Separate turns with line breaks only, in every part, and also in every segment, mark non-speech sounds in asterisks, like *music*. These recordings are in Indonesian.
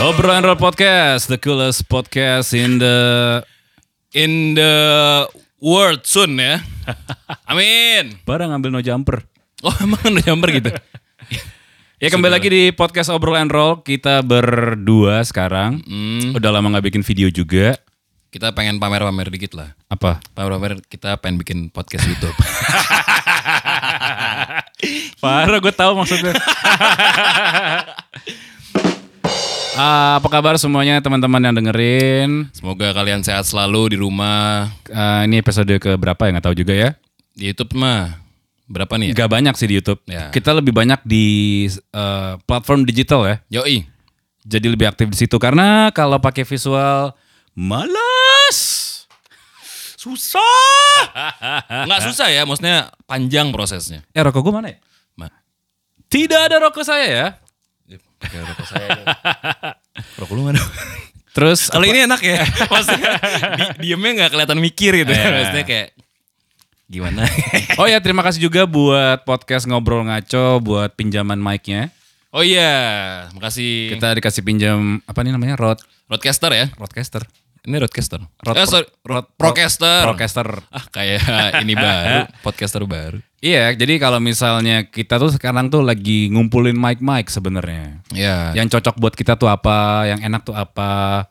Obrol and Roll Podcast, the coolest podcast in the in the world soon ya. Amin.
Barang ngambil no jumper.
Oh emang udah nyamper gitu. ya kembali lagi di podcast Obrol and Roll kita berdua sekarang.
Hmm.
Udah lama nggak bikin video juga.
Hmm, Kita pengen pamer-pamer dikit lah.
Apa?
Pamer-pamer kita pengen bikin podcast gitu. YouTube.
Parah gue tahu maksudnya.
*laughs* Ah, apa kabar semuanya teman-teman yang dengerin?
Semoga kalian sehat selalu di rumah.
Ah, ini episode ke berapa ya nggak tahu juga ya.
Di YouTube mah berapa nih? Ya?
Gak banyak sih di YouTube.
Ya.
Kita lebih banyak di eh, platform digital ya.
Yoi.
jadi lebih aktif di situ karena kalau pakai visual malas
*laughs*
susah
Nggak susah ya, maksudnya panjang prosesnya.
eh rokok gue mana ya
Ma-
tidak ada rokok saya ya
ya Rokok lu mana? *laughs*
terus
Kalau ini enak ya. Maksudnya di- diemnya nggak kelihatan mikir gitu. ya. Maksudnya kayak gimana?
*laughs* oh ya terima kasih juga buat podcast ngobrol ngaco buat pinjaman mic-nya
oh iya, makasih.
kita dikasih pinjam apa nih namanya rod
Roadcaster ya.
rodcaster
Ini roadcaster.
Rod-
eh, sorry,
Rod-
procaster.
Roadcaster.
Ah, kayak *laughs* ini baru, podcaster baru.
iya jadi kalau misalnya kita tuh sekarang tuh lagi ngumpulin mic-mic sebenarnya
Ya.
Ah. yang cocok buat kita tuh apa, yang enak tuh apa.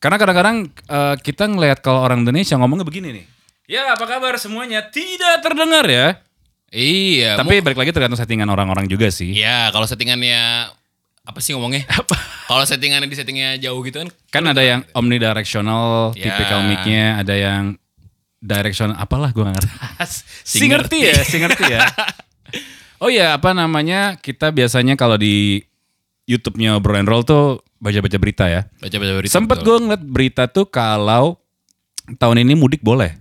Karena kadang-kadang eh, kita ngelihat kalau orang Indonesia ngomongnya begini nih. Ya apa kabar semuanya? Tidak terdengar ya.
Iya.
Tapi balik lagi tergantung settingan orang-orang juga sih.
Iya, kalau settingannya *laughs* apa sih ngomongnya? Kalau settingannya di settingnya jauh gitu kan
Kan ada yang omnidirectional,
Ya.
typical mic-nya, ada yang directional apalah gua gak ngerti.
Si
*laughs* si ngerti ya,
*laughs*
si ngerti ya. *laughs* Oh iya, apa namanya? Kita biasanya kalau di YouTube-nya Bro and Roll tuh baca-baca berita ya.
baca-baca berita.
Sempet
betul.
gue ngeliat berita tuh kalau tahun ini mudik boleh.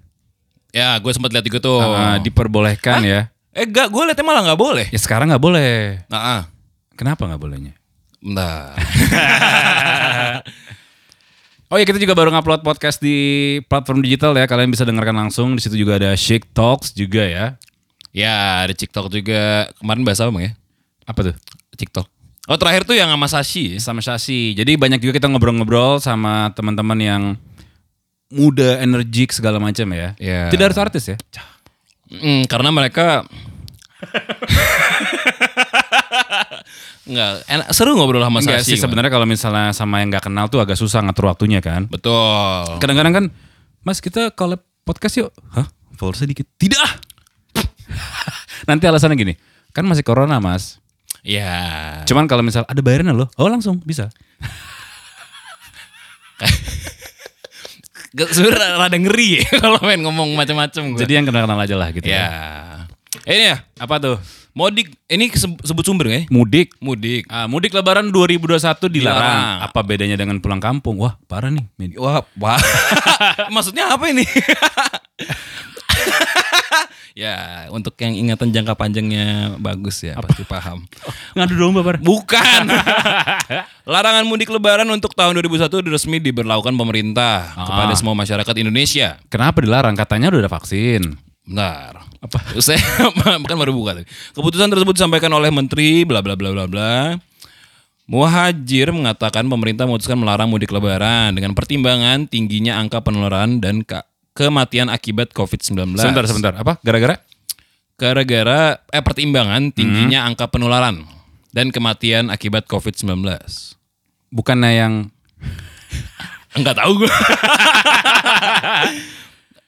Ya, gue sempet lihat juga tuh.
Ah, diperbolehkan ya.
eh, enggak, gue liatnya malah nggak boleh.
Ya sekarang nggak boleh.
Nah, ah.
Kenapa nggak bolehnya?
Bentar. *laughs*
Oh ya kita juga baru ngupload podcast di platform digital ya. Kalian bisa dengarkan langsung. Di situ juga ada Chic Talks juga ya.
ya, ada TikTok juga. Kemarin bahas apa Bang, ya?
Apa tuh?
TikTok. Oh, terakhir tuh yang sama Sashi. ya?
Sama Shashi. Jadi banyak juga kita ngobrol-ngobrol sama teman-teman yang muda, energik segala macam ya.
Ya.
Tidak harus artis ya.
Mm, karena *laughs* mereka Enggak, enak- seru ngobrol sama
Enggak
Sashi.
sih
kemarin.
sebenarnya kalau misalnya sama yang nggak kenal tuh agak susah ngatur waktunya kan.
Betul.
Kadang-kadang kan, Mas kita collab podcast yuk. Hah? Followersnya dikit. Tidak. ah." Nanti alasannya gini, kan masih corona mas.
Ya.
Cuman kalau misal ada bayarannya loh, oh langsung bisa.
Gak- sebenernya rada ngeri ya *laughs* kalau main ngomong macam-macam gue.
Jadi yang kenal-kenal aja lah gitu.
ya. Eh, Ini ya,
Apa tuh?
modik ini se- sebut sumber nggak ya?
Mudik.
Mudik.
Ah, mudik Lebaran 2021 dilarang.
Dilarang.
Apa bedanya dengan pulang kampung? Wah parah nih. Med-
Wah, wah. *laughs* Maksudnya apa ini? *laughs* ya, untuk yang ingatan jangka panjangnya bagus ya, pasti paham.
Ngadu domba parah.
Bukan. *laughs* Larangan mudik lebaran untuk tahun 2001 resmi diberlakukan pemerintah kepada semua masyarakat Indonesia.
Kenapa dilarang? Katanya udah ada vaksin.
Bentar. Apa? *laughs* Saya bukan baru buka tadi. Keputusan tersebut disampaikan oleh menteri bla bla bla bla bla. Muhajir mengatakan pemerintah memutuskan melarang mudik lebaran dengan pertimbangan tingginya angka penularan dan ke- kematian akibat COVID-19.
Sebentar, sebentar. Apa? Gara-gara?
Gara-gara eh pertimbangan tingginya angka penularan dan kematian akibat COVID-19.
Bukannya yang
Enggak tahu *laughs* gue.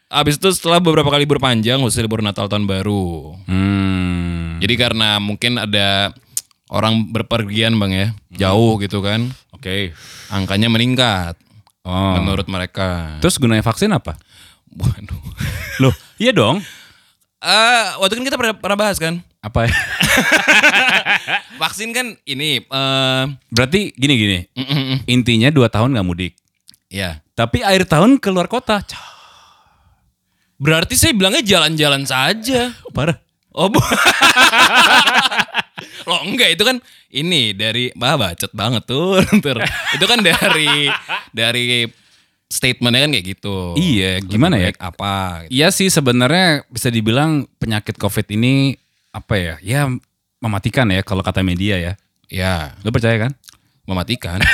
Habis itu setelah beberapa kali libur panjang, khususnya libur Natal tahun baru.
hmm,
Jadi karena mungkin ada orang berpergian bang ya, jauh gitu kan,
oke.
angkanya meningkat
Oh.
menurut mereka.
Terus gunanya vaksin
*laughs*
apa?
Waduh.
Loh, iya dong.
Eh, waktu kan kita pernah, pernah bahas kan,
Apa
*laughs*
ya?
vaksin kan ini, eh
Berarti gini-gini.
mm, mm, mm.
Intinya dua tahun nggak mudik.
ya.
Tapi akhir tahun keluar kota. Cah,
Berarti saya bilangnya jalan-jalan saja. *laughs*
parah.
Oh, bu- Loh enggak itu kan ini dari bah bacot banget tuh. *laughs* Tur. itu kan dari dari statementnya kan kayak gitu.
Iya,
Lebih
gimana ya?
baik Apa? gitu.
Iya sih sebenarnya bisa dibilang penyakit COVID ini apa ya? Ya mematikan ya kalau kata media ya.
Ya.
Lo percaya kan?
mematikan. *laughs*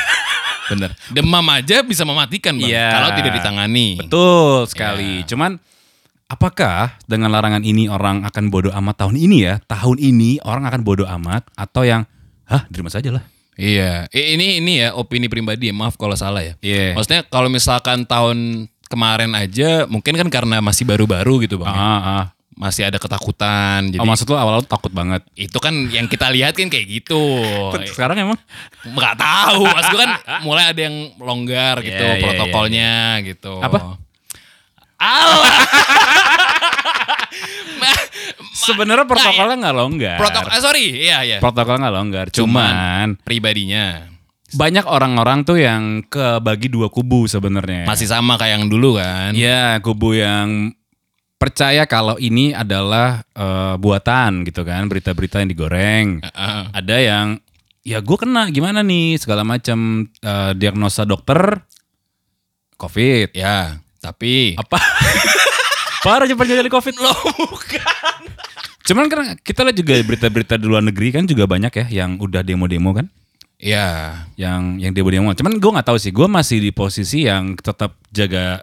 Bener. Demam aja bisa mematikan bang.
Iya.
Kalau tidak ditangani.
Betul sekali. Iya. Cuman apakah dengan larangan ini orang akan bodoh amat tahun ini ya? Tahun ini orang akan bodoh amat atau yang hah terima saja lah.
Iya. I- Ini ini ya opini pribadi. ya. Maaf kalau salah ya.
Iya.
Maksudnya kalau misalkan tahun kemarin aja mungkin kan karena masih baru-baru gitu bang. ya.
Ah, ah.
Masih ada ketakutan. Jadi
Oh, maksud lu awal-awal takut banget. Oh, iya.
itu kan yang kita lihat kan kayak
*laughs*
gitu.
Sekarang emang
Nggak tahu. Maksud gue kan mulai ada yang longgar gitu
Iya, iya,
protokolnya gitu.
Apa?
Allah.
sebenarnya protokolnya nggak longgar.
Protokol. ah, sorry. Iya iya.
Protokol nggak longgar. Cuman,
Pribadinya
banyak orang-orang tuh yang kebagi dua kubu sebenarnya.
masih sama kayak yang dulu kan.
Ya, kubu yang percaya kalau ini adalah eh, buatan gitu kan, berita-berita yang digoreng.
Heeh.
Ada yang ya gue kena gimana nih segala macam eh, diagnosa dokter COVID.
Ya, tapi
Apa? *laughs* Parah cepat jadi COVID loh. Cuman kan kita lihat juga berita-berita di luar negeri kan juga banyak ya yang udah demo-demo kan.
ya
yang yang demo demo cuman gue nggak tahu sih gue masih di posisi yang tetap jaga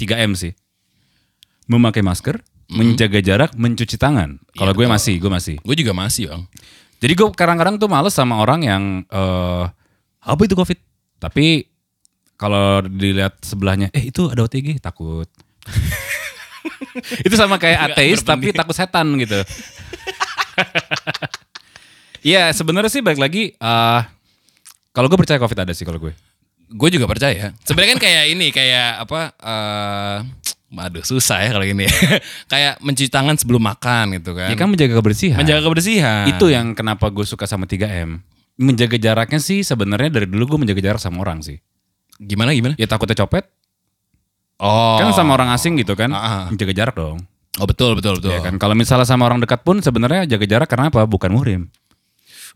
3 m sih memakai masker menjaga jarak mencuci tangan kalau gue masih gue masih
gue juga masih bang.
jadi gue kadang-kadang tuh males sama orang yang eh apa itu covid tapi kalau dilihat sebelahnya eh itu ada OTG takut itu sama kayak ateis tapi takut setan gitu *laughs* Iya sebenarnya sih balik lagi eh kalau gue percaya covid ada sih kalau gue
Gue juga percaya. Sebenarnya kan kayak ini, kayak apa? eh aduh susah ya kalau ini. *laughs* kayak mencuci tangan sebelum makan gitu kan. Nah.
Ya kan menjaga kebersihan.
Menjaga kebersihan.
Itu yang kenapa gue suka sama 3M. Menjaga jaraknya sih sebenarnya dari dulu gue menjaga jarak sama orang sih.
gimana gimana?
Ya takutnya copet.
Oh,
Kan sama orang asing gitu kan.
Ah, ah.
Menjaga jarak dong.
oh betul betul betul.
Ya kan kalau misalnya sama orang dekat pun sebenarnya jaga jarak karena apa? Bukan muhrim.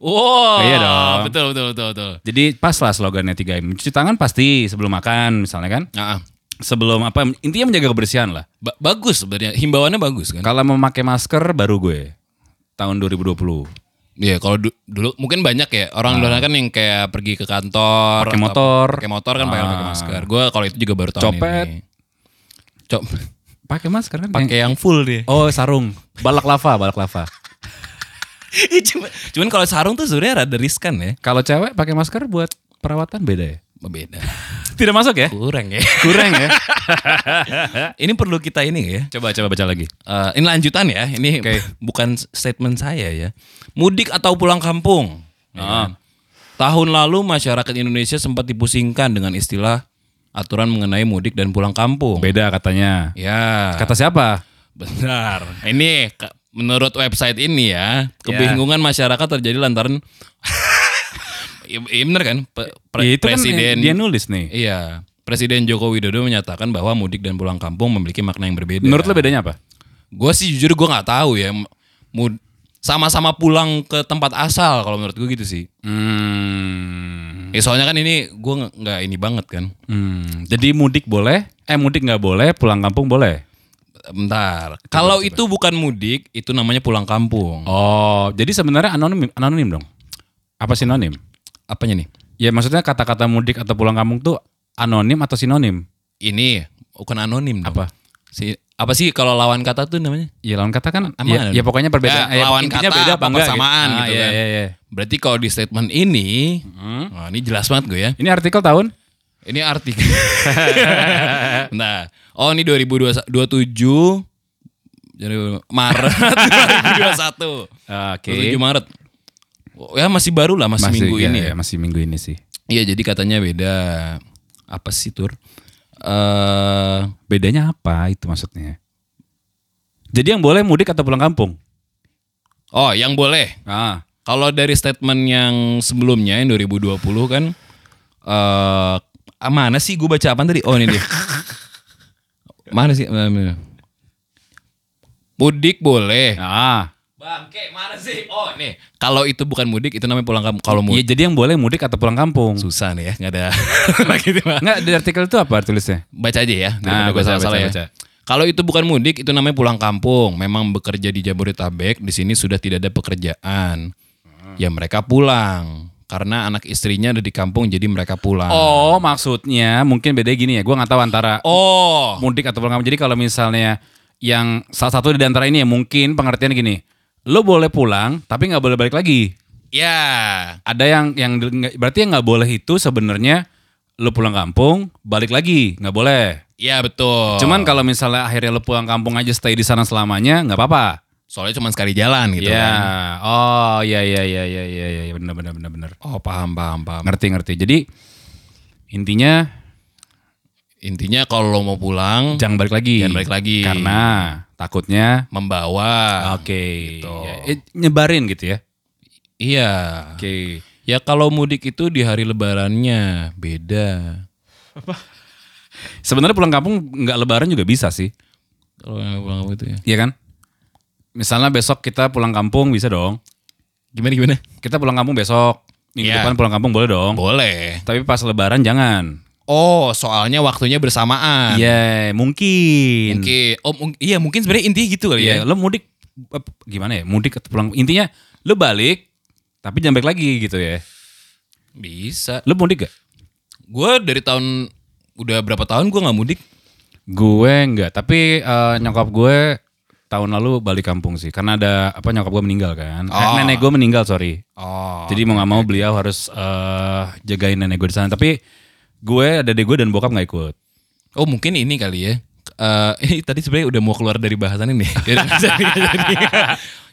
Wow,
Iya dong.
Betul betul betul betul.
Jadi pas lah slogannya 3M. Cuci tangan pasti sebelum makan misalnya kan.
Ah, ah.
Sebelum apa intinya menjaga kebersihan lah.
Ba- bagus sebenarnya. Himbauannya bagus kan.
Kalau memakai masker baru gue tahun 2020.
Iya, kalau du- dulu mungkin banyak ya orang luar kan yang kayak pergi ke kantor,
Pakai
atau
motor.
pakai motor kan pakai pakai masker. Gue kalau itu juga baru tahun
Copet.
ini. *laughs* Cop,
Pakai masker kan?
pakai yang full *laughs* dia.
Oh sarung. Balak lava, balak lava.
cuman, Iya, cuman kalau sarung tuh sebenarnya rada riskan ya.
Kalau cewek pakai masker buat perawatan beda ya?
Oh, Beda.
Tidak masuk ya?
*laughs* Kurang ya.
Kurang ya?
ini perlu kita ini ya.
*laughs* coba coba baca lagi.
Eh, ini lanjutan ya. Ini
Oke.
bukan statement saya ya. Mudik atau pulang kampung. Ya kan?
Iya.
Tahun lalu masyarakat Indonesia sempat dipusingkan dengan istilah aturan mengenai mudik dan pulang kampung.
Beda katanya.
Ya.
Kata siapa?
Benar. Ini ke- menurut website ini ya, kebingungan masyarakat terjadi lantaran *laughs* Iya iya benar kan? Pe- pre-
Ya, itu
presiden
kan dia nulis nih.
Iya, Presiden Joko Widodo menyatakan bahwa mudik dan pulang kampung memiliki makna yang berbeda.
Menurut lo bedanya apa?
gue sih jujur gue nggak tahu ya. Mud- sama-sama pulang ke tempat asal kalau menurut gue gitu sih.
Hmm.
Ya, soalnya kan ini gue nggak nggak ini banget kan.
Jadi mudik boleh, eh mudik nggak boleh, pulang kampung boleh.
Bentar. Kalau itu bukan mudik, itu namanya pulang kampung.
Oh, jadi sebenarnya anonim anonim dong. Apa sinonim?
Apanya nih?
Ya maksudnya kata-kata mudik atau pulang kampung tuh anonim atau sinonim?
ini bukan anonim dong.
Apa?
si apa sih kalau lawan kata tuh namanya
Ya lawan kata kan
Emang
ya,
ada?
ya pokoknya perbedaan
Ya,
eh,
lawan
intinya
kata
beda
apa
apa enggak
persamaan gitu
Ah, iya,
kan.
iya, iya.
berarti kalau di statement ini
Hmm.
Wah, ini jelas banget gue ya
Ini artikel tahun?
ini *laughs* artikel nah oh ini 2027 jadi Maret *laughs* 2021
Eh, Oke.
27 Maret Oh, ya masih baru lah masih, minggu
iya,
ini ya
iya, masih minggu ini sih.
iya jadi katanya beda apa sih tur eh
Bedanya apa itu maksudnya? Jadi yang boleh mudik atau pulang kampung?
oh yang boleh
Ah,
Kalau dari statement yang sebelumnya yang 2020 kan eh ah, mana sih gue baca apaan tadi? Oh ini dia. *laughs* mana sih? Eh, Mudik boleh.
ah.
Bangke mana sih? Oh ini. Kalau itu bukan mudik itu namanya pulang kampung. Kalau mudik
Iya, jadi yang boleh mudik atau pulang kampung.
susah nih ya nggak ada *laughs* lagi tuh, Bang.
Enggak, di artikel itu apa tulisnya?
Baca aja ya.
Nah,
daripada gua
baca,
salah-salah
baca,
ya.
baca.
Kalau itu bukan mudik, itu namanya pulang kampung. Memang bekerja di Jabodetabek, di sini sudah tidak ada pekerjaan. Ya mereka pulang. karena anak istrinya ada di kampung jadi mereka pulang.
Oh, maksudnya mungkin bedanya gini ya. Gua nggak tahu antara
Oh.
mudik atau pulang kampung. Jadi kalau misalnya yang salah satu di antara ini ya mungkin pengertian gini. Lo boleh pulang tapi nggak boleh balik lagi.
Ya.
Ada yang yang di- nggak- berarti yang nggak boleh itu sebenarnya lo pulang kampung balik lagi nggak boleh.
Ya betul.
Cuman kalau misalnya akhirnya lo pulang kampung aja stay di sana selamanya nggak apa-apa.
soalnya cuman sekali jalan gitu
Iya.
kan.
Oh, iya iya iya iya iya iya benar benar benar benar.
Oh, paham paham paham.
Ngerti ngerti. Jadi intinya
Hmm. Intinya kalau lo mau pulang
jangan balik lagi.
Jangan balik lagi.
Karena takutnya
membawa.
oke.
Gitu.
Ya, eh, nyebarin gitu ya.
Iya.
Oke.
Ya kalau mudik itu di hari lebarannya beda.
Sebenarnya pulang kampung nggak lebaran juga bisa sih.
Kalau yang pulang kampung itu ya.
Iya kan? Misalnya besok kita pulang kampung bisa dong.
Gimana gimana?
Kita pulang kampung besok. Minggu
Iya.
depan pulang kampung boleh dong.
Boleh.
Tapi pas lebaran jangan.
Oh, soalnya waktunya bersamaan.
Iya, mungkin.
Mungkin. Oh, mung- iya mungkin sebenarnya intinya gitu kali
Iya,
ya.
lo mudik eh, gimana ya? Mudik atau pulang? Intinya lo balik tapi jangan balik lagi gitu ya.
Bisa.
Lo mudik gak?
Gue dari tahun udah berapa tahun gue nggak mudik.
Gue enggak, tapi eh, nyokap gue tahun lalu balik kampung sih karena ada apa nyokap gue meninggal kan. Eh,
Oh.
Nenek gue meninggal, sorry.
Oh.
Jadi mau nggak mau beliau harus eh, jagain nenek gue di sana. Tapi gue ada gue dan bokap nggak ikut.
Oh mungkin ini kali ya. Eh, *laughs* ini tadi sebenarnya udah mau keluar dari bahasan
*laughs*
ini.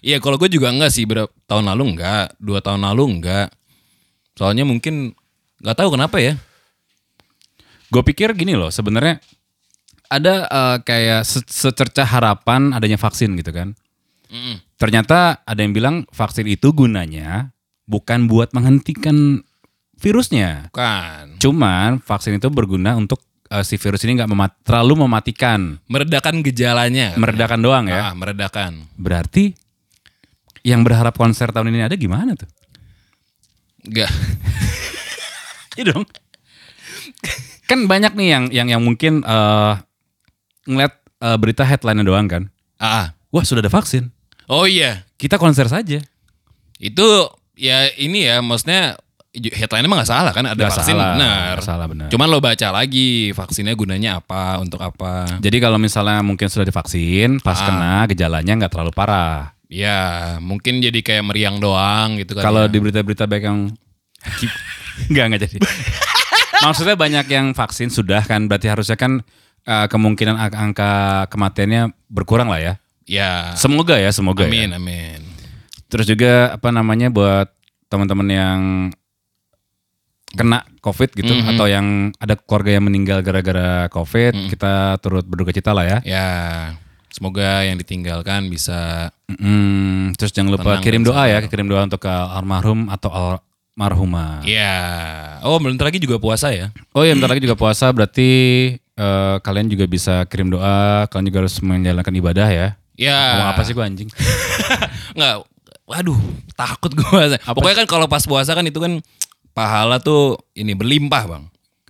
Iya kalau gue juga enggak sih berapa tahun lalu enggak, dua tahun lalu enggak. Soalnya mungkin nggak tahu kenapa ya.
Gue pikir gini loh, sebenarnya ada eh, kayak se- secercah harapan adanya vaksin gitu kan. Ternyata ada yang bilang vaksin itu gunanya bukan buat menghentikan virusnya.
Bukan.
Cuman vaksin itu berguna untuk eh, si virus ini nggak memat- terlalu mematikan,
Meredakan gejalanya.
meredakan doang
Ah,
ya.
meredakan.
Berarti yang berharap konser tahun ini ada
*laughs*
gimana tuh?
Enggak.
Iya dong. kan banyak nih yang yang yang mungkin eh, ngeliat eh, berita headline doang kan.
*laughs* Ah.
Wah sudah ada vaksin,
Oh iya.
kita konser saja.
Itu ya ini ya maksudnya headline emang nggak salah kan ada
Nggak
vaksin
salah,
benar.
nggak salah, benar.
Cuman lo baca lagi vaksinnya gunanya apa untuk apa.
Jadi kalau misalnya mungkin sudah divaksin, pas kena gejalanya nggak terlalu parah.
Ya, mungkin jadi kayak meriang doang gitu kan.
Kalau di berita-berita baik yang *laughs* nggak nggak jadi. Maksudnya banyak yang vaksin sudah kan, berarti harusnya kan eh, kemungkinan ang- angka kematiannya berkurang lah ya.
ya.
Semoga ya, semoga. ya.
Amin, amin.
Terus juga apa namanya buat teman-teman yang kena COVID gitu atau yang ada keluarga yang meninggal gara-gara COVID, kita turut berduka cita lah ya.
Ya, semoga yang ditinggalkan bisa
Mm, terus jangan lupa
Tenang
kirim
dan
doa ya, kirim doa untuk ke almarhum atau almarhumah.
ya. Oh, bentar lagi juga puasa ya.
Oh iya, bentar lagi juga puasa, berarti eh, kalian juga bisa kirim doa, kalian juga harus menjalankan ibadah ya. Ngomong
Ya.
apa sih gue anjing?
Enggak. Waduh, takut gua. Pokoknya kan kalau pas puasa kan itu kan pahala tuh ini berlimpah, Bang.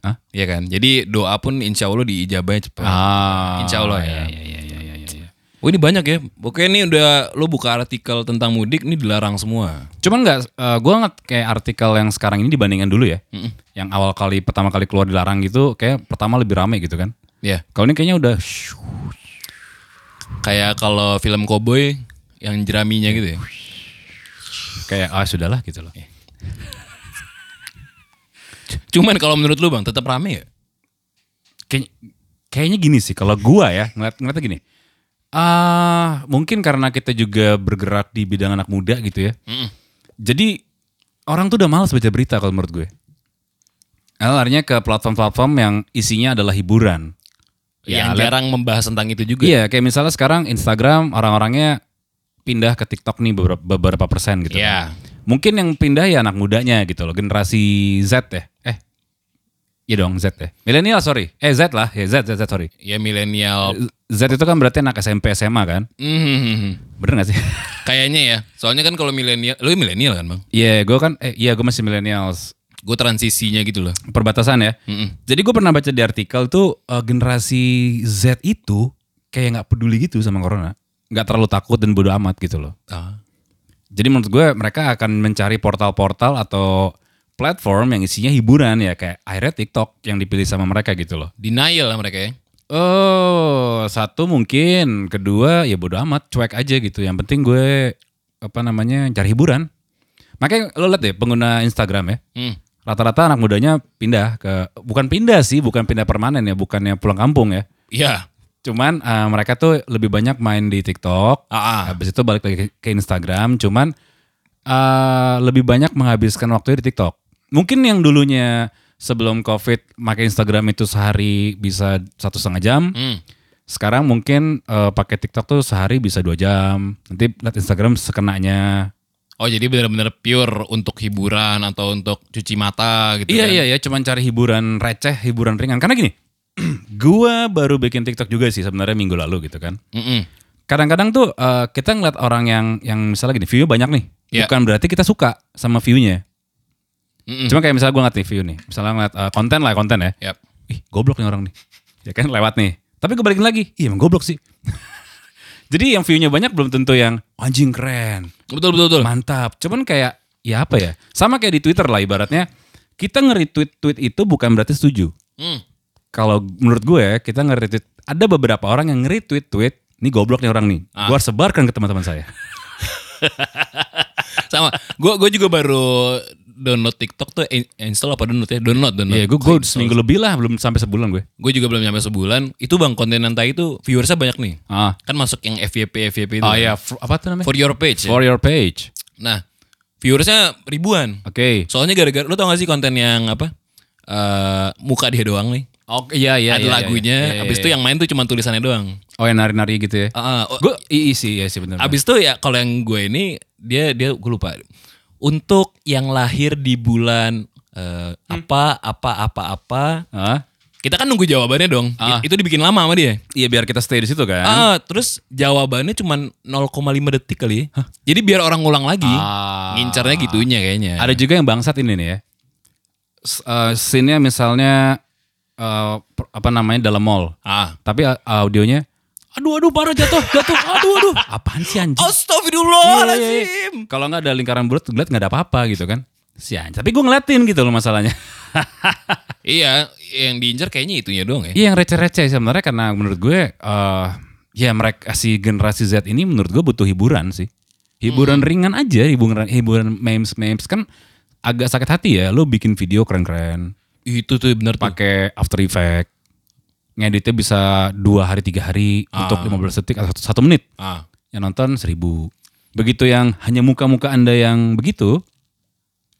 Hah?
Iya kan? Jadi doa pun insya Allah diijabah cepat.
Ah,
Insya Allah ya.
iya, iya, iya, iya, iya, iya.
Oh ini banyak ya. Oke ini udah lo buka artikel tentang mudik ini dilarang semua.
Cuman nggak, eh, gue ngeliat kayak artikel yang sekarang ini dibandingkan dulu ya, yang awal kali pertama kali keluar dilarang gitu, kayak pertama lebih rame gitu kan.
Ya.
Kalau ini kayaknya udah,
Kayak kalau film koboi yang jeraminya gitu ya.
kayak ah sudahlah gitu
Iya.
loh.
Cuman kalau menurut lu bang tetap rame ya?
Kayaknya, kayaknya gini sih, kalau gua ya ngeliat ngeliatnya gini, ah mungkin karena kita juga bergerak di bidang anak muda gitu ya. Jadi orang tuh udah males baca berita kalau menurut gue. Nah, Larinya ke platform-platform yang isinya adalah hiburan.
yang jarang membahas tentang itu juga.
Ya, Iya, kayak misalnya sekarang Instagram orang-orangnya pindah ke TikTok nih beberapa, beberapa persen gitu.
Iya.
Mungkin yang pindah ya anak mudanya gitu loh, generasi Z ya. Eh, iya dong Z ya. Milenial sorry, eh Z lah, ya Z, Z, Z sorry.
Ya milenial.
Z itu kan berarti anak SMP SMA kan,
Mhm.
bener gak sih? *laughs*
Kayaknya ya. Soalnya kan kalau milenial, lu milenial kan bang?
Iya, gue kan, eh iya gue masih millennials
Gue transisinya gitu loh. Hmm,
perbatasan ya.
Mm-mm.
Jadi gue pernah baca di artikel tuh eh, generasi Z itu kayak nggak peduli gitu sama corona, nggak terlalu takut dan bodoh amat gitu loh.
Ah.
Jadi menurut gue mereka akan mencari portal-portal atau platform yang isinya hiburan ya kayak akhirnya TikTok yang dipilih sama mereka gitu loh.
Denial lah mereka ya.
Oh, satu mungkin, kedua ya bodo amat, cuek aja gitu. Yang penting gue apa namanya cari hiburan. Makanya lo liat deh pengguna Instagram ya,
Hmm.
rata-rata anak mudanya pindah ke bukan pindah sih, bukan pindah permanen ya, bukannya pulang kampung ya.
Ya.
Cuman eh, mereka tuh lebih banyak main di TikTok,
Ah, ah.
habis itu balik lagi ke Instagram. Cuman eh, lebih banyak menghabiskan waktunya di TikTok. Mungkin yang dulunya sebelum COVID, pakai Instagram itu sehari bisa satu setengah jam
Hmm.
sekarang mungkin eh, pakai TikTok tuh sehari bisa dua jam nanti lihat Instagram sekenanya
Oh jadi benar-benar pure untuk hiburan atau untuk cuci mata gitu
iya
kan?
iya iya cuman cari hiburan receh hiburan ringan karena gini *clears throat* gua baru bikin TikTok juga sih sebenarnya minggu lalu gitu kan
Mm-mm.
kadang-kadang tuh eh, kita ngeliat orang yang yang misalnya gini view banyak nih
Iya.
bukan berarti kita suka sama view-nya
Mm-mm.
cuma kayak misalnya gua ngeliat nih view nih misalnya ngeliat eh, konten lah konten ya
Yap.
ih goblok nih orang nih. *laughs* Ya kan lewat nih. Tapi gue balikin lagi, iya emang goblok sih. *laughs* Jadi yang view-nya banyak belum tentu yang anjing keren,
Betul betul betul.
mantap. Cuman kayak ya apa ya? Sama kayak di Twitter lah ibaratnya. Kita nge-retweet tweet itu bukan berarti setuju.
Hmm.
Kalau menurut gue ya, kita nge-retweet ada beberapa orang yang nge-retweet tweet, ini goblok nih orang nih. Gue harus sebarkan ke teman-teman saya.
Sama. Gue gue juga baru download TikTok tuh in- install apa download ya? Download download.
Iya, gue gue seminggu lebih lah, belum sampai sebulan gue.
Gue juga belum nyampe sebulan. Itu bang konten nanti itu viewersnya banyak nih.
Ah,
Kan masuk yang FYP FYP itu. kan?
ah ya, apa tuh namanya?
For your page. ya.
For your page.
Nah viewersnya ribuan.
Oke.
Soalnya gara-gara lu tau gak sih konten yang apa? Eh muka dia doang nih.
Oke, iya iya.
Ada
iya, iya,
lagunya.
iya, iya,
Abis itu yang main tuh cuma tulisannya doang.
Oh yang nari-nari gitu ya?
Ah, ah, oh,
Gue iya sih, iya sih bener.
Abis itu ya kalau yang gue ini dia dia gue lupa. Untuk yang lahir di bulan eh, apa apa apa apa,
Hah?
kita kan nunggu jawabannya dong. I- Itu dibikin lama sama dia.
Iya biar kita stay di situ kan.
Ah, terus jawabannya cuman 0,5 detik kali. ya. Jadi biar orang ngulang lagi.
Ah.
Ngincarnya gitunya kayaknya.
Ada juga yang bangsat ini nih ya. S- eh, scene-nya misalnya eh, per- apa namanya dalam mall.
Ah.
Tapi eh, audionya aduh aduh parah jatuh jatuh aduh aduh *laughs* apaan sih
Iya,
anjing Iya,
Astagfirullahaladzim.
kalau nggak ada lingkaran bulat ngeliat nggak ada apa-apa gitu kan si anjing tapi gue ngeliatin gitu loh masalahnya
Iya, yang diincar kayaknya itunya doang ya.
Iya yang receh-receh sebenarnya karena menurut gue eh ya mereka si generasi Z ini menurut gue butuh hiburan sih. Hiburan ringan aja, hiburan hiburan memes-memes kan agak sakit hati ya lu bikin video keren-keren,
Itu tuh bener tuh.
pakai After Effect. Ngeditnya bisa dua hari tiga hari untuk 15 detik atau satu, satu menit.
Ah.
Yang nonton seribu. Begitu yang hanya muka-muka anda yang begitu,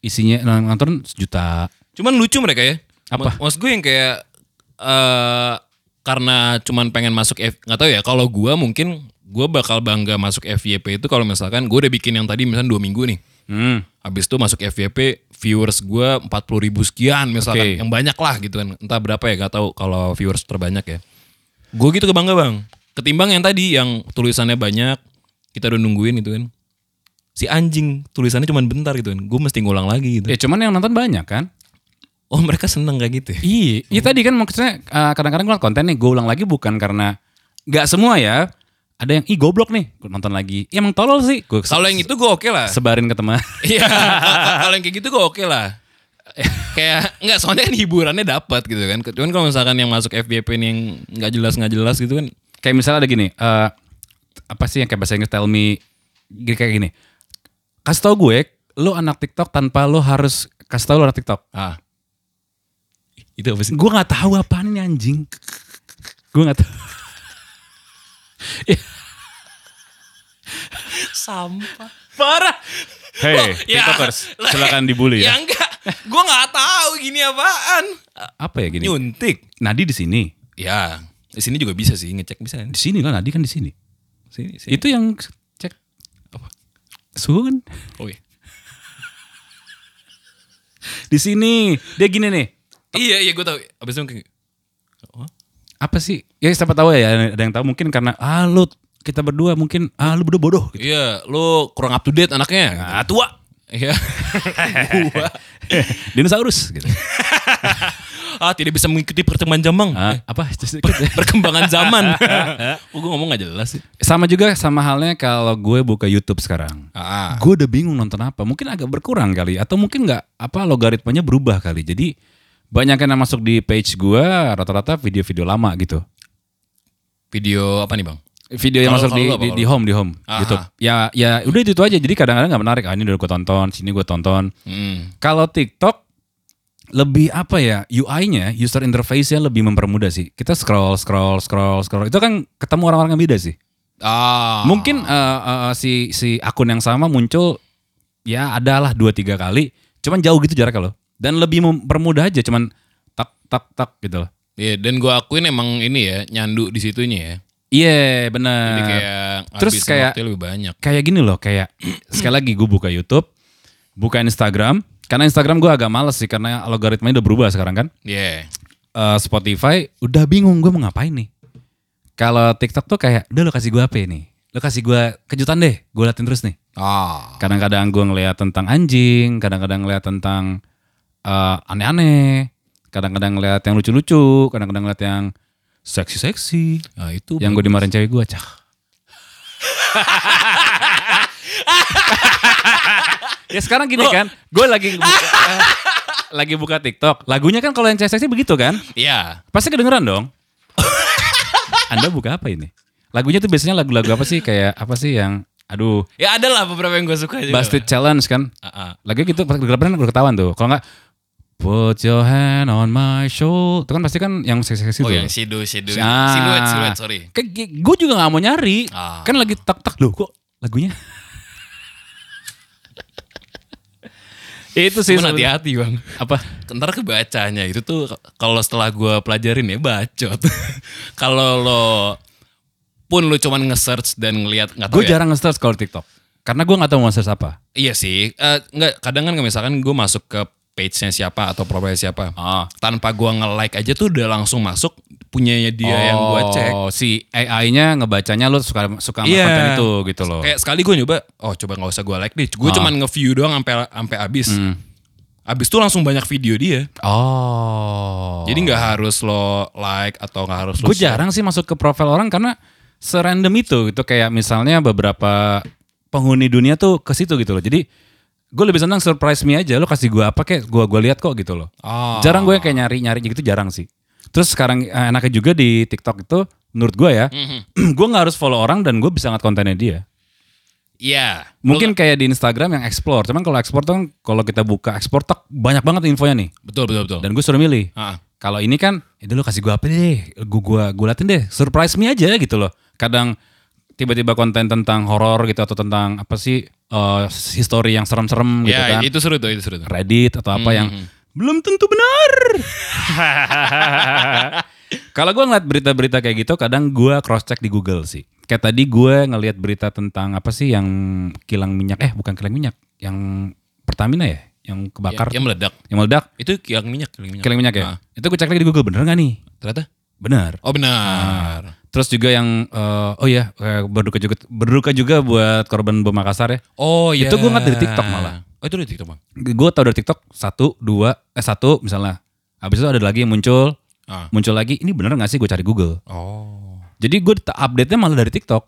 isinya yang nonton sejuta.
Cuman lucu mereka ya.
Apa?
Ma- Maksud gue yang kayak eh karena cuman pengen masuk F nggak tahu ya. Kalau gue mungkin gue bakal bangga masuk FYP itu kalau misalkan gue udah bikin yang tadi misalnya dua minggu nih.
Hmm.
Habis itu masuk FYP viewers gue 40 ribu sekian misalkan
Oke.
yang banyak lah gitu kan. Entah berapa ya nggak tahu kalau viewers terbanyak ya. Gue gitu kebangga bang. Ketimbang yang tadi yang tulisannya banyak kita udah nungguin gitu kan. Si anjing tulisannya cuman bentar gitu kan. Gue mesti ngulang lagi gitu.
Ya cuman yang nonton banyak kan?
Oh mereka seneng kayak gitu. ya?
Iya, iya tadi kan maksudnya uh, kadang-kadang gue konten nih, gue ulang lagi bukan karena nggak semua ya. Ada yang ih goblok nih, gue nonton lagi. "Ih, emang tolol sih, gue
Kalau yang itu gue oke
*laughs*
lah.
sebarin ke teman.
Iya. Kalau yang kayak gitu gue oke lah. kayak nggak soalnya kan hiburannya dapat gitu kan. Cuman kalau misalkan yang masuk FBP nih yang nggak jelas nggak jelas gitu kan.
kayak misalnya ada gini, eh, apa sih yang kayak bahasa Inggris tell me gini kayak gini. Kasih tau gue, lu anak TikTok tanpa lu harus kasih tau lu anak TikTok.
Ah. Itu apa sih?
Gue nggak tahu apaan ini anjing. Gue nggak tahu.
Sampah. Parah.
*laughs* Hey,
Ya,
TikTokers,
lah,
silakan dibully
Ya
Oh, ya.
enggak. Gue nggak tahu gini apaan.
Apa ya gini?
Nyuntik.
Nadi di sini.
Ya. Di sini juga bisa sih ngecek bisa.
Di sini lah Nadi kan di sini.
Sini, sini.
Itu yang cek apa? Suhu kan?
Oh iya.
*laughs* di sini dia gini nih
Iya iya gue tahu. Abis itu mungkin- Oh.
apa sih ya siapa tahu ya ada yang tahu mungkin karena ah lu kita berdua mungkin ah lu berdua bodoh gitu.
Iya, lu kurang up to date anaknya. Ah, tua. Iya. *laughs*
dinosaurus gitu
ah tidak bisa mengikuti perkembangan zaman.
Ah,
Eh,
apa? Just-
*laughs* perkembangan zaman. *laughs* Kok gue ngomong gak jelas sih.
sama juga sama halnya kalau gue buka YouTube sekarang.
Ah,
Gue udah bingung nonton apa. Mungkin agak berkurang kali atau mungkin nggak apa logaritmanya berubah kali. Jadi banyak yang masuk di page gue rata-rata video-video lama gitu.
video apa nih bang?
Video yang
Kalau-
masuk
kalau
di,
lu apa,
di,
kalau Ah,
di home di home
Aha.
YouTube. Ya ya udah itu, itu aja. Jadi kadang-kadang nggak menarik. Ah ini udah gue tonton, sini gue tonton.
Hmm.
Kalau TikTok lebih apa ya UI-nya, user interface-nya lebih mempermudah sih. Kita scroll, scroll, scroll, scroll. Itu kan ketemu orang-orang yang beda sih.
Ah,
Mungkin eh, eh, si si akun yang sama muncul ya adalah dua tiga kali, cuman jauh gitu jaraknya loh. Dan lebih mempermudah aja, cuman tak tak tak gitu loh.
Iya, dan gue akuin emang ini ya nyandu di situnya ya.
Iya
Jadi
bener. Kayak...
Ah. kayak
terus
habisin
kayak-
waktunya lebih banyak.
gini loh, kayak *clears throat* sekali lagi gue buka YouTube, buka Instagram, karena Instagram gue agak males sih karena logaritmanya udah berubah sekarang kan.
Iya.
Eh, Spotify udah bingung gue mau ngapain nih. Kalau TikTok tuh kayak, udah lo kasih gue apa ini? Lo kasih gue kejutan deh, gue liatin terus nih.
Ah.
Kadang-kadang gue ngeliat tentang anjing, kadang-kadang ngeliat tentang eh, aneh-aneh, kadang-kadang ngeliat yang lucu-lucu, kadang-kadang ngeliat yang seksi-seksi.
Nah, itu
Yang gue dimarahin cewek gue, cah. ya sekarang gini kan, gue lagi buka, eh, lagi buka TikTok. Lagunya kan kalau yang cewek seksi begitu kan?
Iya.
Pasti kedengeran dong. Anda buka apa ini? Lagunya tuh biasanya lagu-lagu apa sih? Kayak apa sih yang, aduh,
Ya ada lah beberapa yang gue suka juga.
Busted Challenge kan?
Ah, ah.
Lagi gitu pas kegelapan udah ketahuan tuh. Kalau nggak put your hand on my shoulder. Itu kan pasti kan yang seksi-seksi
Oh
tuh.
yang shadow shadow.
Ah.
Siluet siluet sorry.
gue juga nggak mau nyari.
Ah.
Kan lagi tak tak loh kok lagunya. Itu sih
Cuman
sebenarnya.
hati-hati bang.
apa?
Ntar kebacanya itu tuh kalau setelah gua pelajarin ya bacot. *laughs* kalau lo pun lo cuman nge-search dan ngelihat nggak tahu
Gue
ya.
jarang nge-search kalau TikTok. Karena gue nggak tahu mau search apa.
Iya sih. Eh, nggak kadang kan misalkan gue masuk ke page-nya siapa atau profilnya siapa.
Ah.
Tanpa gua nge-like aja tuh udah langsung masuk punyanya dia Iya, yang gua cek.
Oh, si AI-nya ngebacanya lu suka suka sama
Iya.
konten itu gitu loh.
Kayak sekali gue nyoba, oh coba nggak usah gua like deh.
Ah.
Gue cuman nge-view doang sampai sampai habis.
Hmm.
Abis tuh langsung banyak video dia.
Oh.
Jadi nggak harus lo like atau nggak harus lo
Gue jarang sih masuk ke profil orang karena serandom itu gitu kayak misalnya beberapa penghuni dunia tuh ke situ gitu loh. Jadi gue lebih senang surprise me aja lo kasih gue apa kayak gue gua lihat kok gitu loh.
Ah.
Jarang gue kayak nyari nyari gitu jarang sih. Terus sekarang eh, enaknya juga di TikTok itu menurut gue ya, *clears throat* gue nggak harus follow orang dan gue bisa ngeliat kontennya dia.
Iya.
Mungkin kayak di Instagram yang explore, cuman kalau explore tuh kan kalau kita buka explore tak banyak banget infonya nih.
Betul betul betul.
Dan gue suruh milih.
Ah.
Kalau ini kan, itu lo kasih gue apa deh, gue gua gua liatin deh, surprise me aja gitu loh. Kadang tiba-tiba konten tentang horor gitu atau tentang apa sih eh, history yang serem-serem gitu
Ya
kan,
itu seru tuh itu seru tuh.
Reddit atau apa yang belum tentu benar. *laughs* Kalau gue ngeliat berita-berita kayak gitu, kadang gue cross check di Google sih. Kayak tadi gue ngeliat berita tentang apa sih yang kilang minyak, eh bukan kilang minyak, yang Pertamina ya, yang kebakar,
Yang meledak.
yang meledak,
Itu yang minyak. Yang minyak.
kilang minyak ya. Itu gue cek lagi di Google bener nggak nih?
Ternyata?
Benar.
Oh benar.
Terus juga yang eh, oh ya berduka juga berduka juga buat korban bom Makassar ya.
Oh
Itu gua ngeliat dari TikTok malah.
Oh itu dari TikTok bang.
Gue tau dari TikTok satu dua eh satu misalnya. Habis itu ada lagi yang muncul
Ah.
muncul lagi ini bener gak sih gue cari Google.
Oh.
Jadi gue update nya malah dari TikTok.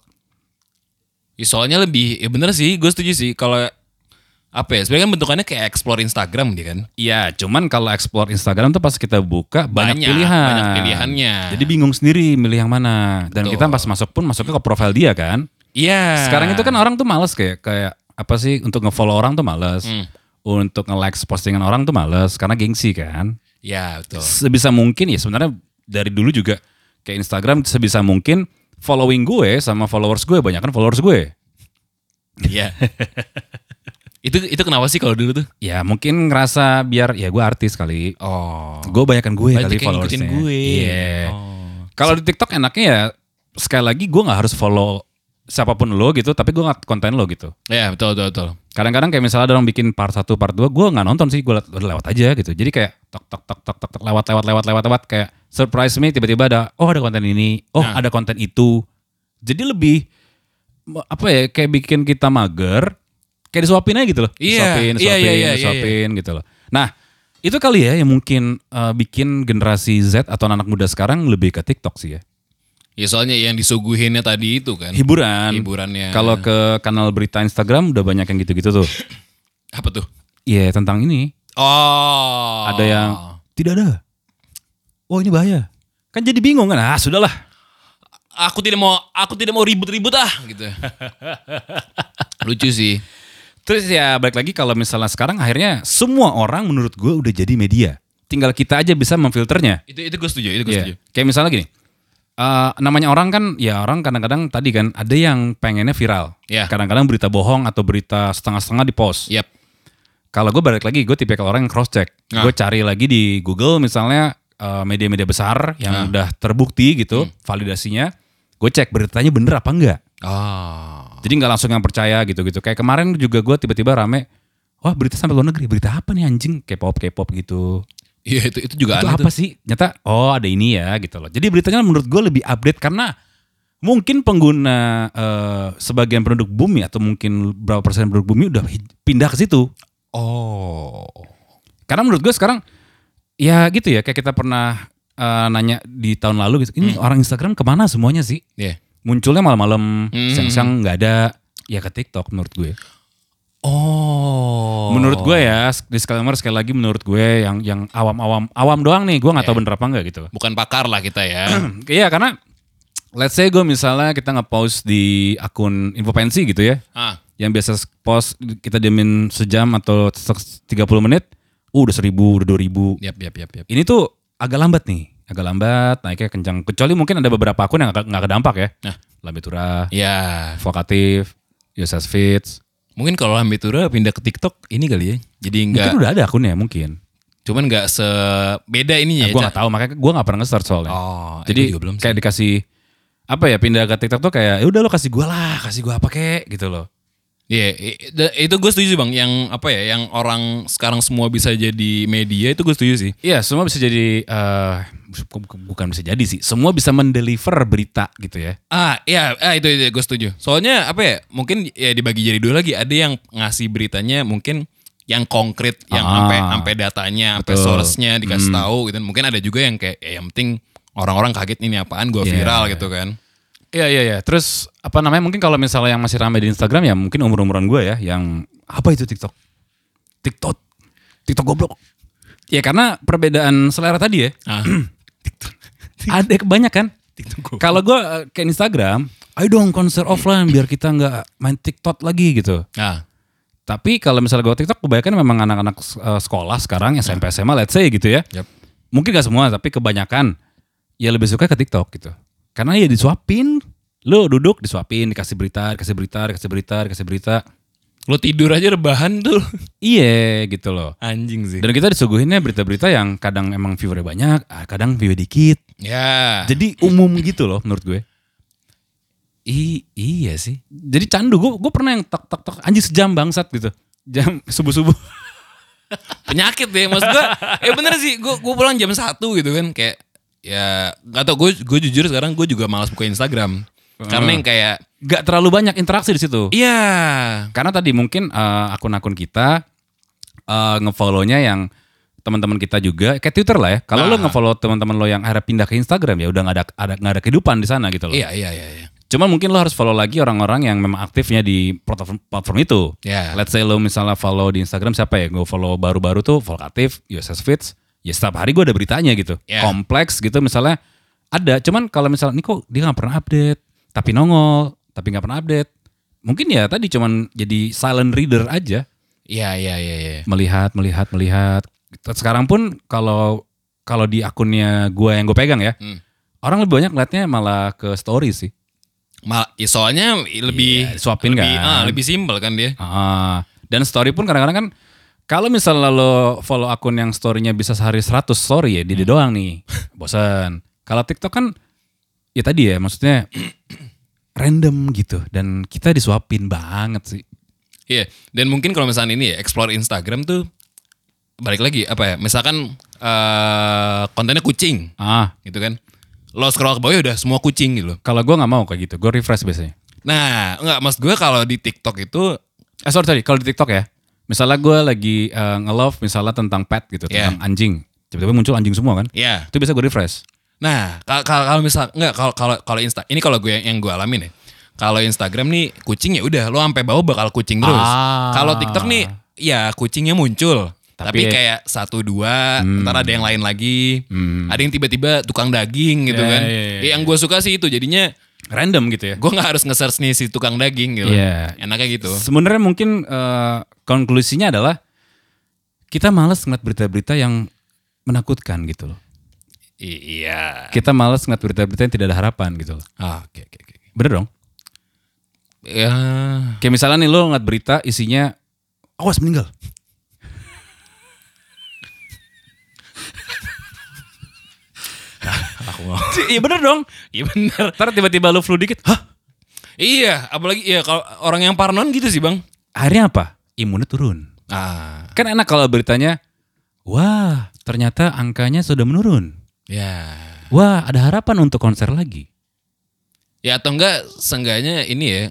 Ya, soalnya lebih ya bener sih gue setuju sih kalau apa ya sebenarnya kan bentukannya kayak explore Instagram dia kan.
Iya, cuman kalau explore Instagram tuh pas kita buka
Banyak,
banyak, pilihan.
banyak pilihannya.
Jadi bingung sendiri milih yang mana. Dan
Betul.
kita pas masuk pun masuknya ke profil dia kan.
Iya.
Sekarang itu kan orang tuh males kayak kayak apa sih untuk nge-follow orang tuh males.
Hmm.
Untuk nge-like postingan orang tuh males karena gengsi kan.
Ya betul.
Sebisa mungkin ya sebenarnya dari dulu juga kayak Instagram sebisa mungkin following gue sama followers gue banyak kan followers gue. *laughs*
Iya. itu itu kenapa sih kalau dulu tuh?
Ya mungkin ngerasa biar ya gue artis kali.
Oh.
Gue banyakkan gue
Banyak
kali
yang ngikutin
followersnya.
gue.
Iya.
Oh.
Kalau di TikTok enaknya ya sekali lagi gue nggak harus follow siapapun lo gitu tapi gue nggak konten lo gitu.
Ya betul betul betul.
Kadang-kadang kayak misalnya ada orang bikin part 1, part 2, gue nggak nonton sih, gue lewat, lewat aja gitu. Jadi kayak tok tok tok tok tok tok lewat lewat lewat lewat lewat kayak surprise me tiba-tiba ada oh ada konten ini, oh
Nah.
ada konten itu. Jadi lebih me- apa ya kayak bikin kita mager, kayak disuapin aja gitu loh.
Iya,
Disuapin,
iya,
disuapin,
iya, iya, iya,
disuapin gitu loh. Nah, Itu kali ya yang mungkin eh, bikin generasi Z atau anak muda sekarang lebih ke TikTok sih ya.
Ya soalnya yang disuguhinnya tadi itu kan.
Hiburan.
Hiburannya.
Kalau ke kanal berita Instagram udah banyak yang gitu-gitu tuh.
Apa tuh?
Iya tentang ini.
Oh.
Ada yang tidak ada. Oh ini bahaya. Kan jadi bingung kan. Ah sudahlah.
aku tidak mau aku tidak mau ribut-ribut ah
*laughs*
gitu. Lucu sih.
Terus ya balik lagi kalau misalnya sekarang akhirnya semua orang menurut gue udah jadi media. Tinggal kita aja bisa memfilternya.
Itu itu gue setuju, itu gue
Iya.
setuju.
Kayak misalnya gini, eh, namanya orang kan, ya orang kadang-kadang tadi kan ada yang pengennya viral.
Iya.
Kadang-kadang berita bohong atau berita setengah-setengah di post.
Yap.
Kalau gue balik lagi, gue tipe orang yang cross check.
Nah.
Gue cari lagi di Google misalnya eh, media-media besar yang udah terbukti gitu validasinya. Gue cek beritanya bener apa enggak.
Ah.
Jadi nggak langsung yang percaya gitu-gitu. Kayak kemarin juga gue tiba-tiba rame, wah berita sampai luar negeri, berita apa nih anjing? K-pop, K-pop gitu
Iya itu itu juga
itu
aneh tuh.
apa sih? Nyata, oh ada ini ya gitu loh. Jadi beritanya menurut gue lebih update karena mungkin pengguna eh, sebagian penduduk bumi atau mungkin berapa persen penduduk bumi udah hij- pindah ke situ.
Oh.
Karena menurut gue sekarang ya gitu ya kayak kita pernah eh, nanya di tahun lalu gitu.
Hmm.
Ini orang Instagram kemana semuanya sih?
Iya.
Munculnya malam-malam,
Hmm.
siang-siang nggak ada. Ya ke TikTok menurut gue.
Oh.
Menurut gue ya disclaimer sekali lagi menurut gue yang yang awam-awam awam doang nih. Gue nggak
Iya.
tahu bener apa enggak gitu.
bukan pakar lah kita ya.
*clears throat* Iya karena let's say gue misalnya kita nge-post di akun Infopensi gitu ya.
ah.
Yang biasa post kita diemin sejam atau se- 30 menit. Uh, udah seribu, udah dua ribu.
Yap, yap, yap, yap.
Ini tuh agak lambat nih. Agak lambat, naiknya kencang. Kecuali mungkin ada beberapa akun yang agak- nggak kedampak ya.
Nah.
Lambitura,
Ya,
Vokatif, Yosef Fitz.
mungkin kalau Lambitura pindah ke TikTok ini kali ya. Jadi enggak
Mungkin udah ada akunnya ya, mungkin.
cuman enggak sebeda ininya
Nah,
ya.
gue
Ca.
nggak tahu, makanya gue nggak pernah nge-search soalnya.
Oh, eh, gua
Jadi
juga belum. sih.
kayak dikasih apa ya pindah ke TikTok tuh kayak ya udah lo kasih gue lah, kasih gue apa kek gitu loh.
Iya, i- i- itu gue setuju bang. Yang apa ya, yang orang sekarang semua bisa jadi media itu gue setuju sih.
Iya, semua bisa jadi eh, bu- bu- bukan bisa jadi sih. Semua bisa mendeliver berita gitu ya.
Ah, iya, ah, itu, itu gue setuju. Soalnya apa ya, mungkin ya dibagi jadi dua lagi. Ada yang ngasih beritanya mungkin yang konkret, yang
Ah.
sampai sampai datanya, sampai source-nya dikasih tahu gitu. Mungkin ada juga yang kayak ya, yang penting orang-orang kaget ini apaan gue
Iya.
viral gitu kan.
Iya, iya, iya. Terus apa namanya? Mungkin kalau misalnya yang masih ramai di Instagram ya mungkin umur-umuran gue ya yang apa itu TikTok? TikTok. TikTok goblok. Ya karena perbedaan selera tadi ya.
Ah.
Ada kebanyakan.
TikTok gua.
Kalau gue eh, ke Instagram, ayo dong konser offline biar kita nggak main TikTok lagi gitu.
*clears throat* Ah,
Tapi kalau misalnya gue TikTok kebanyakan memang anak-anak eh, sekolah sekarang SMP SMA let's say gitu ya.
Yap.
Mungkin gak semua tapi kebanyakan ya lebih suka ke TikTok gitu. Karena ya disuapin, lu duduk disuapin, dikasih berita, dikasih berita, dikasih berita, dikasih berita.
lo tidur aja rebahan tuh.
Iya gitu loh.
Anjing sih.
Dan kita disuguhinnya berita-berita yang kadang emang viewernya banyak, ah, kadang view dikit.
Ya.
Jadi umum gitu loh menurut gue.
I- iya sih.
Jadi candu, gue, gue pernah yang tok tok tok anjing sejam bangsat gitu. Jam subuh-subuh.
penyakit deh maksud gue eh bener sih gue gue pulang jam satu gitu kan kayak ya gak tau gue gue jujur sekarang gue juga malas buka Instagram karena yang kayak
Gak terlalu banyak interaksi di situ.
iya
Karena tadi mungkin eh, akun-akun kita eh, ngefollownya yang teman-teman kita juga kayak Twitter lah ya. Kalau lo ngefollow teman-teman lo yang akhirnya pindah ke Instagram ya udah nggak ada ada nggak ada kehidupan di sana gitu loh.
iya iya iya iya
Cuman mungkin lo harus follow lagi orang-orang yang memang aktifnya di platform platform itu.
Ya.
Eh, Let's say lo misalnya follow di Instagram siapa ya? Gue follow baru-baru tuh Volkatif, USS Fits. Ya setiap hari gue ada beritanya gitu.
Ya.
Kompleks gitu misalnya ada. Cuman kalau misalnya nih kok dia nggak pernah update, tapi nongol, tapi nggak pernah update. Mungkin ya tadi cuman jadi silent reader aja,
iya iya iya iya
melihat, melihat, melihat. Sekarang pun kalau kalau di akunnya gue yang gue pegang ya,
Hmm.
orang lebih banyak liatnya malah ke story sih.
Mal, ya soalnya lebih
Iya, suapin
lebih,
kan.
ah, lebih simpel kan dia
Ah, dan story pun kadang-kadang kan kalau misalnya lo follow akun yang story-nya bisa sehari 100 story ya, dia dia doang nih. Bosan. Kalau TikTok kan ya tadi ya maksudnya *clears throat* random gitu dan kita disuapin banget sih.
Iya, dan mungkin kalau misalnya ini ya, explore Instagram tuh balik lagi apa ya? Misalkan eh, kontennya kucing
Ah,
gitu kan. Lo scroll ke bawah ya udah semua kucing gitu. loh.
kalau gua nggak mau kayak gitu, gue refresh biasanya.
Nah, enggak maksud gue kalau di TikTok itu
Eh sorry sorry, kalau di TikTok ya, misalnya gue lagi eh, nge-love misalnya tentang pet gitu,
Yeah.
tentang anjing. Tiba-tiba muncul anjing semua kan?
Ya.
Itu bisa gue refresh.
Nah, kal- kal- kalau misal nggak kalau kalau kalau Insta ini kalau gue yang, yang gue alamin ya. Kalau Instagram nih kucing ya udah lo sampai bawah bakal kucing terus.
Ah.
Kalau TikTok nih ya kucingnya muncul. Tapi,
Tapi- ya- Hmm.
kayak satu dua, ntar ada yang lain lagi, ada yang tiba-tiba tukang daging gitu
Ya,
kan.
ya, ya,
Ya, Yang gue suka sih itu jadinya
Random gitu ya.
gue nggak harus nge-search nih si tukang daging gitu.
Iya.
Enaknya gitu.
Sebenarnya mungkin eh, konklusinya adalah kita males ngeliat berita-berita yang menakutkan gitu loh.
I- iya.
Kita males ngeliat berita-berita yang tidak ada harapan gitu loh.
Ah, Oke oke oke.
Bener dong?
Ya.
Kayak misalnya nih lo ngeliat berita isinya awas meninggal. *laughs* Iya bener dong.
Iya bener.
Ntar tiba-tiba lo flu dikit. Hah?
Iya, apalagi ya kalau orang yang parnon gitu sih bang.
Akhirnya apa? Imunnya turun.
Ah,
Kan enak kalau beritanya, wah ternyata angkanya sudah menurun.
ya.
Wah ada harapan untuk konser lagi.
Ya atau enggak, seenggaknya ini ya.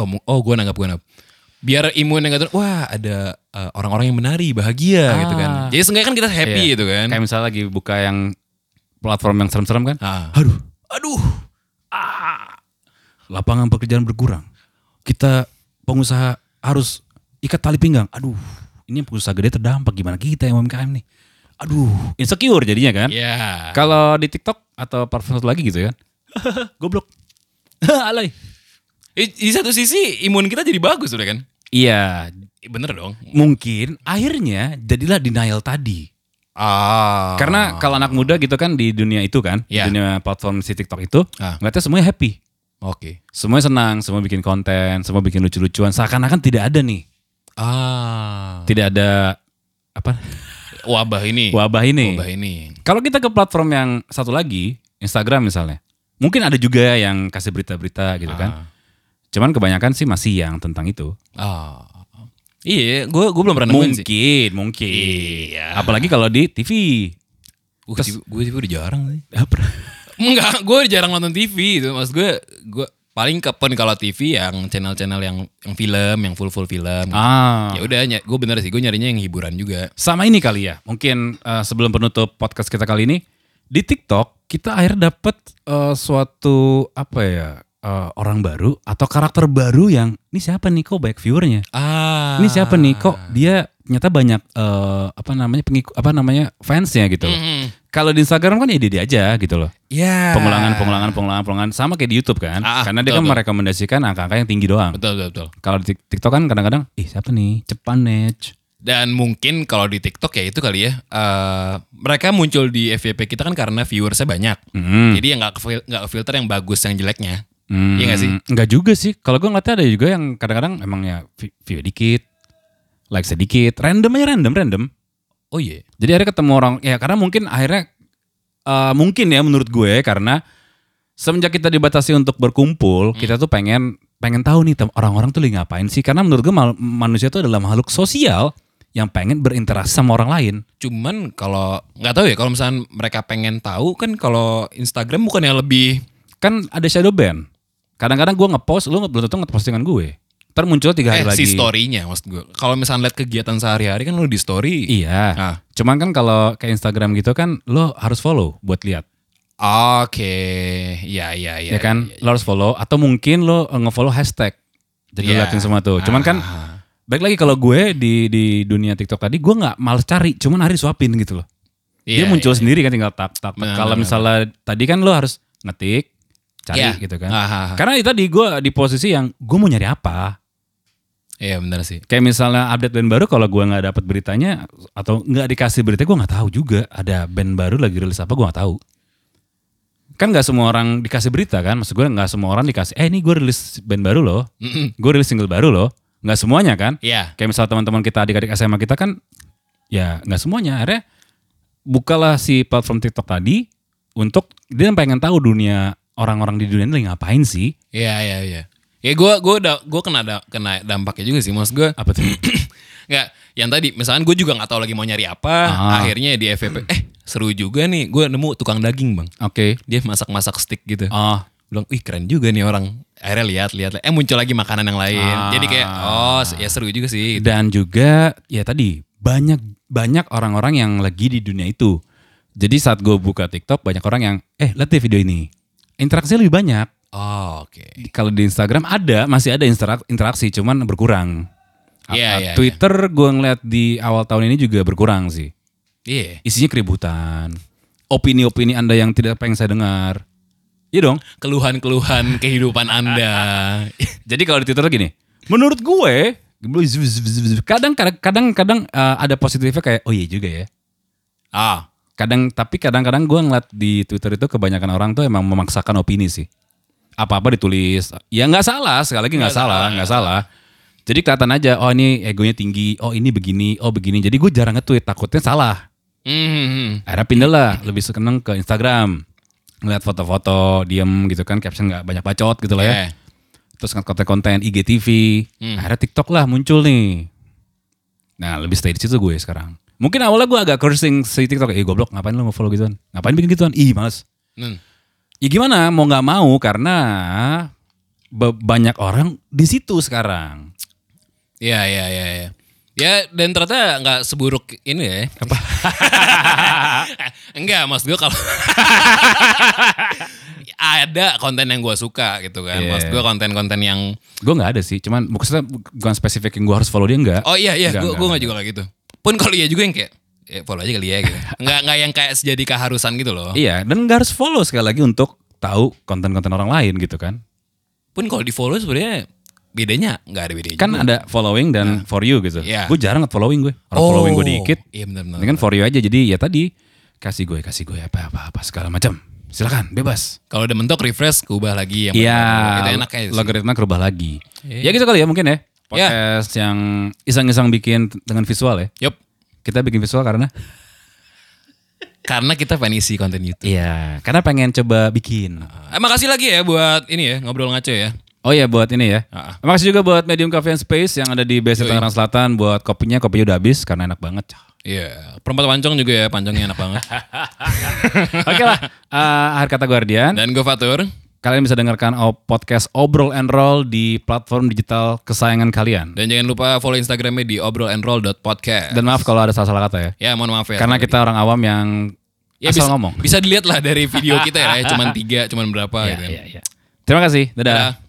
Oh, mu- oh gue nanggap gue nanggap. Biar imun yang nggak turun, wah ada eh, orang-orang yang menari, bahagia gitu kan.
Ah.
Jadi seenggaknya kan kita happy
Iya.
gitu kan.
Kayak misalnya lagi buka yang platform yang serem-serem kan.
Ah.
Aduh, Ah.
Aduh,
lapangan pekerjaan berkurang. Kita pengusaha harus ikat tali pinggang. Aduh, ini pengusaha gede terdampak. Gimana kita yang UMKM nih? Aduh, insecure jadinya kan.
ya.
Kalau di TikTok atau platform satu lagi gitu kan. *laughs* Goblok. *laughs* Alay.
I- Di satu sisi imun kita jadi bagus udah kan.
Iya,
Eh, Bener dong.
mungkin akhirnya jadilah denial tadi.
Ah.
Karena kalau anak muda gitu kan di dunia itu kan,
Iya.
di dunia platform si TikTok itu,
Ah.
ngeliatnya semuanya happy.
Oke.
Semuanya senang, semua bikin konten, semua bikin lucu-lucuan. Seakan-akan tidak ada nih.
Ah.
Tidak ada apa
Wabah ini.
wabah ini.
Iya. Wabah ini.
Kalau kita ke platform yang satu lagi, Instagram misalnya. Mungkin ada juga yang kasih berita-berita gitu kan. Cuman kebanyakan sih masih yang tentang itu.
Ah. Iya, gue gue belum pernah nemuin sih.
Mungkin, mungkin.
Iya.
Apalagi kalau di TV.
Gue gue udah jarang sih. Enggak, gue jarang nonton TV itu. Maksud gue, gue paling kapan kalau TV yang channel-channel yang yang film, yang full full film.
Ah.
Ya udah, ny- gue bener sih, gue nyarinya yang hiburan juga.
Sama ini kali ya. Mungkin eh, sebelum penutup podcast kita kali ini di TikTok kita akhirnya dapat eh, suatu apa ya? eh, orang baru atau karakter baru yang ini siapa nih kok banyak viewernya?
Ah.
Ini siapa nih kok dia ternyata banyak eh, apa namanya pengikut apa namanya fansnya gitu.
Hmm.
loh. Kalau di Instagram kan ya dia aja gitu loh.
Mm-hmm. Ya.
Pengulangan, pengulangan, pengulangan, pengulangan sama kayak di YouTube kan.
Ah, ah,
Karena dia
betul,
kan
betul.
merekomendasikan angka-angka yang tinggi doang.
Betul betul betul.
Kalau di Tik- TikTok kan kadang-kadang, ih siapa nih? Cepanec.
Dan mungkin kalau di TikTok ya itu kali ya. eh, mereka muncul di FYP kita kan karena viewersnya banyak.
Hmm.
Jadi yang nggak kefil- nggak filter yang bagus yang jeleknya.
Hmm,
Iya nggak sih?
Nggak juga sih. Kalau gue ngeliatnya ada juga yang kadang-kadang emang ya vi- view dikit, like sedikit, random aja random, random.
Oh iya.
Jadi akhirnya ketemu orang, ya karena mungkin akhirnya, eh, mungkin ya menurut gue karena semenjak kita dibatasi untuk
Hmm.
berkumpul, kita tuh pengen pengen tahu nih tem- orang-orang tuh lagi ngapain sih. Karena menurut gue mal- manusia tuh adalah makhluk sosial yang pengen berinteraksi sama orang lain.
Cuman kalau nggak tahu ya kalau misalnya mereka pengen tahu kan kalau Instagram bukan yang lebih
Kan ada shadow ban. Kadang-kadang gue ngepost, lu belum tentu ngepost postingan gue. Ntar muncul tiga hari
eh,
lagi.
si story-nya maksud gue. Kalau misalnya lihat kegiatan sehari-hari kan lu di story.
Iya.
Ah.
Cuman kan kalau kayak Instagram gitu kan lo harus follow buat lihat,
Ah. Oke. Iya, iya, iya.
ya kan? Lo harus follow atau mungkin lo eh, nge-follow hashtag. Jadi lo
Iya.
liatin semua tuh. Cuman kan
Ah.
baik lagi kalau gue di di dunia TikTok tadi gue nggak males cari, cuman hari suapin gitu loh.
Iya,
Dia muncul
iya.
sendiri kan tinggal tap tap. tap.
Benar,
Kalau
benar,
misalnya tadi kan lo harus ngetik, cari
Iya.
gitu kan.
Ah, ah, ah.
Karena itu tadi gue di posisi yang gue mau nyari apa?
Iya, benar sih.
Kayak misalnya update band baru kalau gue nggak dapat beritanya atau nggak dikasih berita gue nggak tahu juga ada band baru lagi rilis apa gue nggak tahu. Kan nggak semua orang dikasih berita kan, maksud gue nggak semua orang dikasih. Eh ini gue rilis band baru loh, *clears throat*
Mm-mm.
gue rilis single baru loh, nggak semuanya kan.
Iya.
Kayak misalnya teman-teman kita adik-adik SMA kita kan, ya nggak semuanya. Akhirnya bukalah si platform TikTok tadi untuk dia pengen tahu dunia orang-orang di dunia ini lagi ngapain sih?
Iya, iya, iya. Ya gue gue udah gue kena da- kena dampaknya juga sih maksud gue.
Apa tuh?
Nggak, yang tadi misalnya gue juga nggak tahu lagi mau nyari apa,
Ah.
akhirnya di FVP eh seru juga nih, gue nemu tukang daging, Bang.
Oke.
Dia masak-masak steak gitu.
Ah,
bilang, "Ih, keren juga nih orang." Akhirnya lihat-lihat, eh muncul lagi makanan yang lain. Jadi kayak,
Ah.
"Oh, ya seru juga sih." gitu.
Dan juga ya tadi banyak banyak orang-orang yang lagi di dunia itu. Jadi saat gue buka TikTok banyak orang yang eh lihat deh video ini. Interaksinya lebih banyak.
Oh, oke.
Kalau di Instagram ada masih ada intera- interaksi cuman berkurang. A-
Iya,
a-
iya,
Twitter gue ngeliat di awal tahun ini juga berkurang sih.
Iya.
Isinya keributan. Opini-opini Anda yang tidak pengen saya dengar. Iya dong.
Keluhan-keluhan *laughs* kehidupan Anda.
Jadi kalau di Twitter gini, menurut gue kadang kadang kadang, kadang eh, ada positifnya kayak oh iya juga ya.
Ah,
Kadang tapi kadang-kadang gue ngeliat di Twitter itu kebanyakan orang tuh emang memaksakan opini sih. Apa-apa ditulis. Ya nggak salah, sekali lagi nggak salah, nggak salah. Jadi kelihatan aja oh ini egonya tinggi, oh ini begini, oh begini. Jadi gue jarang nge-tweet takutnya salah.
Mhm.
Akhirnya pindah lah, lebih seneng ke Instagram. Ngeliat foto-foto, diem gitu kan, caption nggak banyak bacot gitu lah ya.
Eh,
Terus ngeliat konten-konten IGTV.
Hmm.
Akhirnya TikTok lah muncul nih. Nah lebih stay di situ gue sekarang. Mungkin awalnya gue agak cursing si TikTok. Eh goblok ngapain lo nge-follow gituan? Ngapain bikin gituan? Ih males.
hmm.
Ya gimana mau gak mau karena be- banyak orang di situ sekarang.
Iya, iya, iya, iya. Ya dan ternyata nggak seburuk ini ya. Apa? *laughs* Enggak, mas gue kalau *laughs* ada konten yang gue suka gitu
Iya.
kan. Mas gue konten-konten yang
Gue gak ada sih. Cuman maksudnya bukan spesifik yang gue harus follow dia enggak.
oh iya iya,
Enggak,
gue
enggak,
gue nggak juga kayak gitu. Pun kalau iya juga yang kayak ya, follow aja kali ya gitu. Enggak enggak yang kayak jadi keharusan gitu loh.
Iya dan gak harus follow sekali lagi untuk tahu konten-konten orang lain gitu kan.
Pun kalau di follow sebenarnya bedanya nggak ada bedanya.
Kan ada following dan for you gitu.
Iya. Oh.
Gue jarang following gue. Orang following gue dikit.
Iya benar-benar.
Ini kan for you aja jadi ya tadi kasih gue kasih gue apa apa apa segala macam. Silakan bebas.
Kalau udah mentok refresh, ubah lagi yang benar-benar. Itu
Iya.
enak kayak sih. Iya.
Logaritma berubah lagi. Ya gitu kali ya mungkin ya. Podcast yang iseng-iseng bikin t- dengan visual ya.
Yup.
Kita bikin visual karena
Karena kita pengen isi konten YouTube.
iya, karena pengen coba bikin.
Eh, makasih lagi ya buat ini ya ngobrol ngaco ya.
Oh ya buat ini ya.
Ah,
Makasih juga buat Medium Cafe and Space yang ada di BSD Tangerang Selatan buat kopinya, kopinya udah habis karena enak banget.
*laughs* Iya, perempat pancong juga ya, pancongnya enak
*laughs*
banget.
Oke lah, eh, akhir kata Guardian.
Dan gue Fatur.
Kalian bisa dengarkan oh, podcast Obrol and Roll di platform digital kesayangan kalian.
Dan jangan lupa follow Instagramnya di obrolandroll.podcast.
Dan maaf kalau ada salah-salah kata ya.
Ya, mohon maaf ya.
Karena kita orang awam yang
ya, bisa,
asal ngomong. *laughs* Iya,
Bisa dilihat lah dari video kita ya, cuman tiga, cuman berapa gitu. kan.
Terima kasih. Dadah.
Dadah.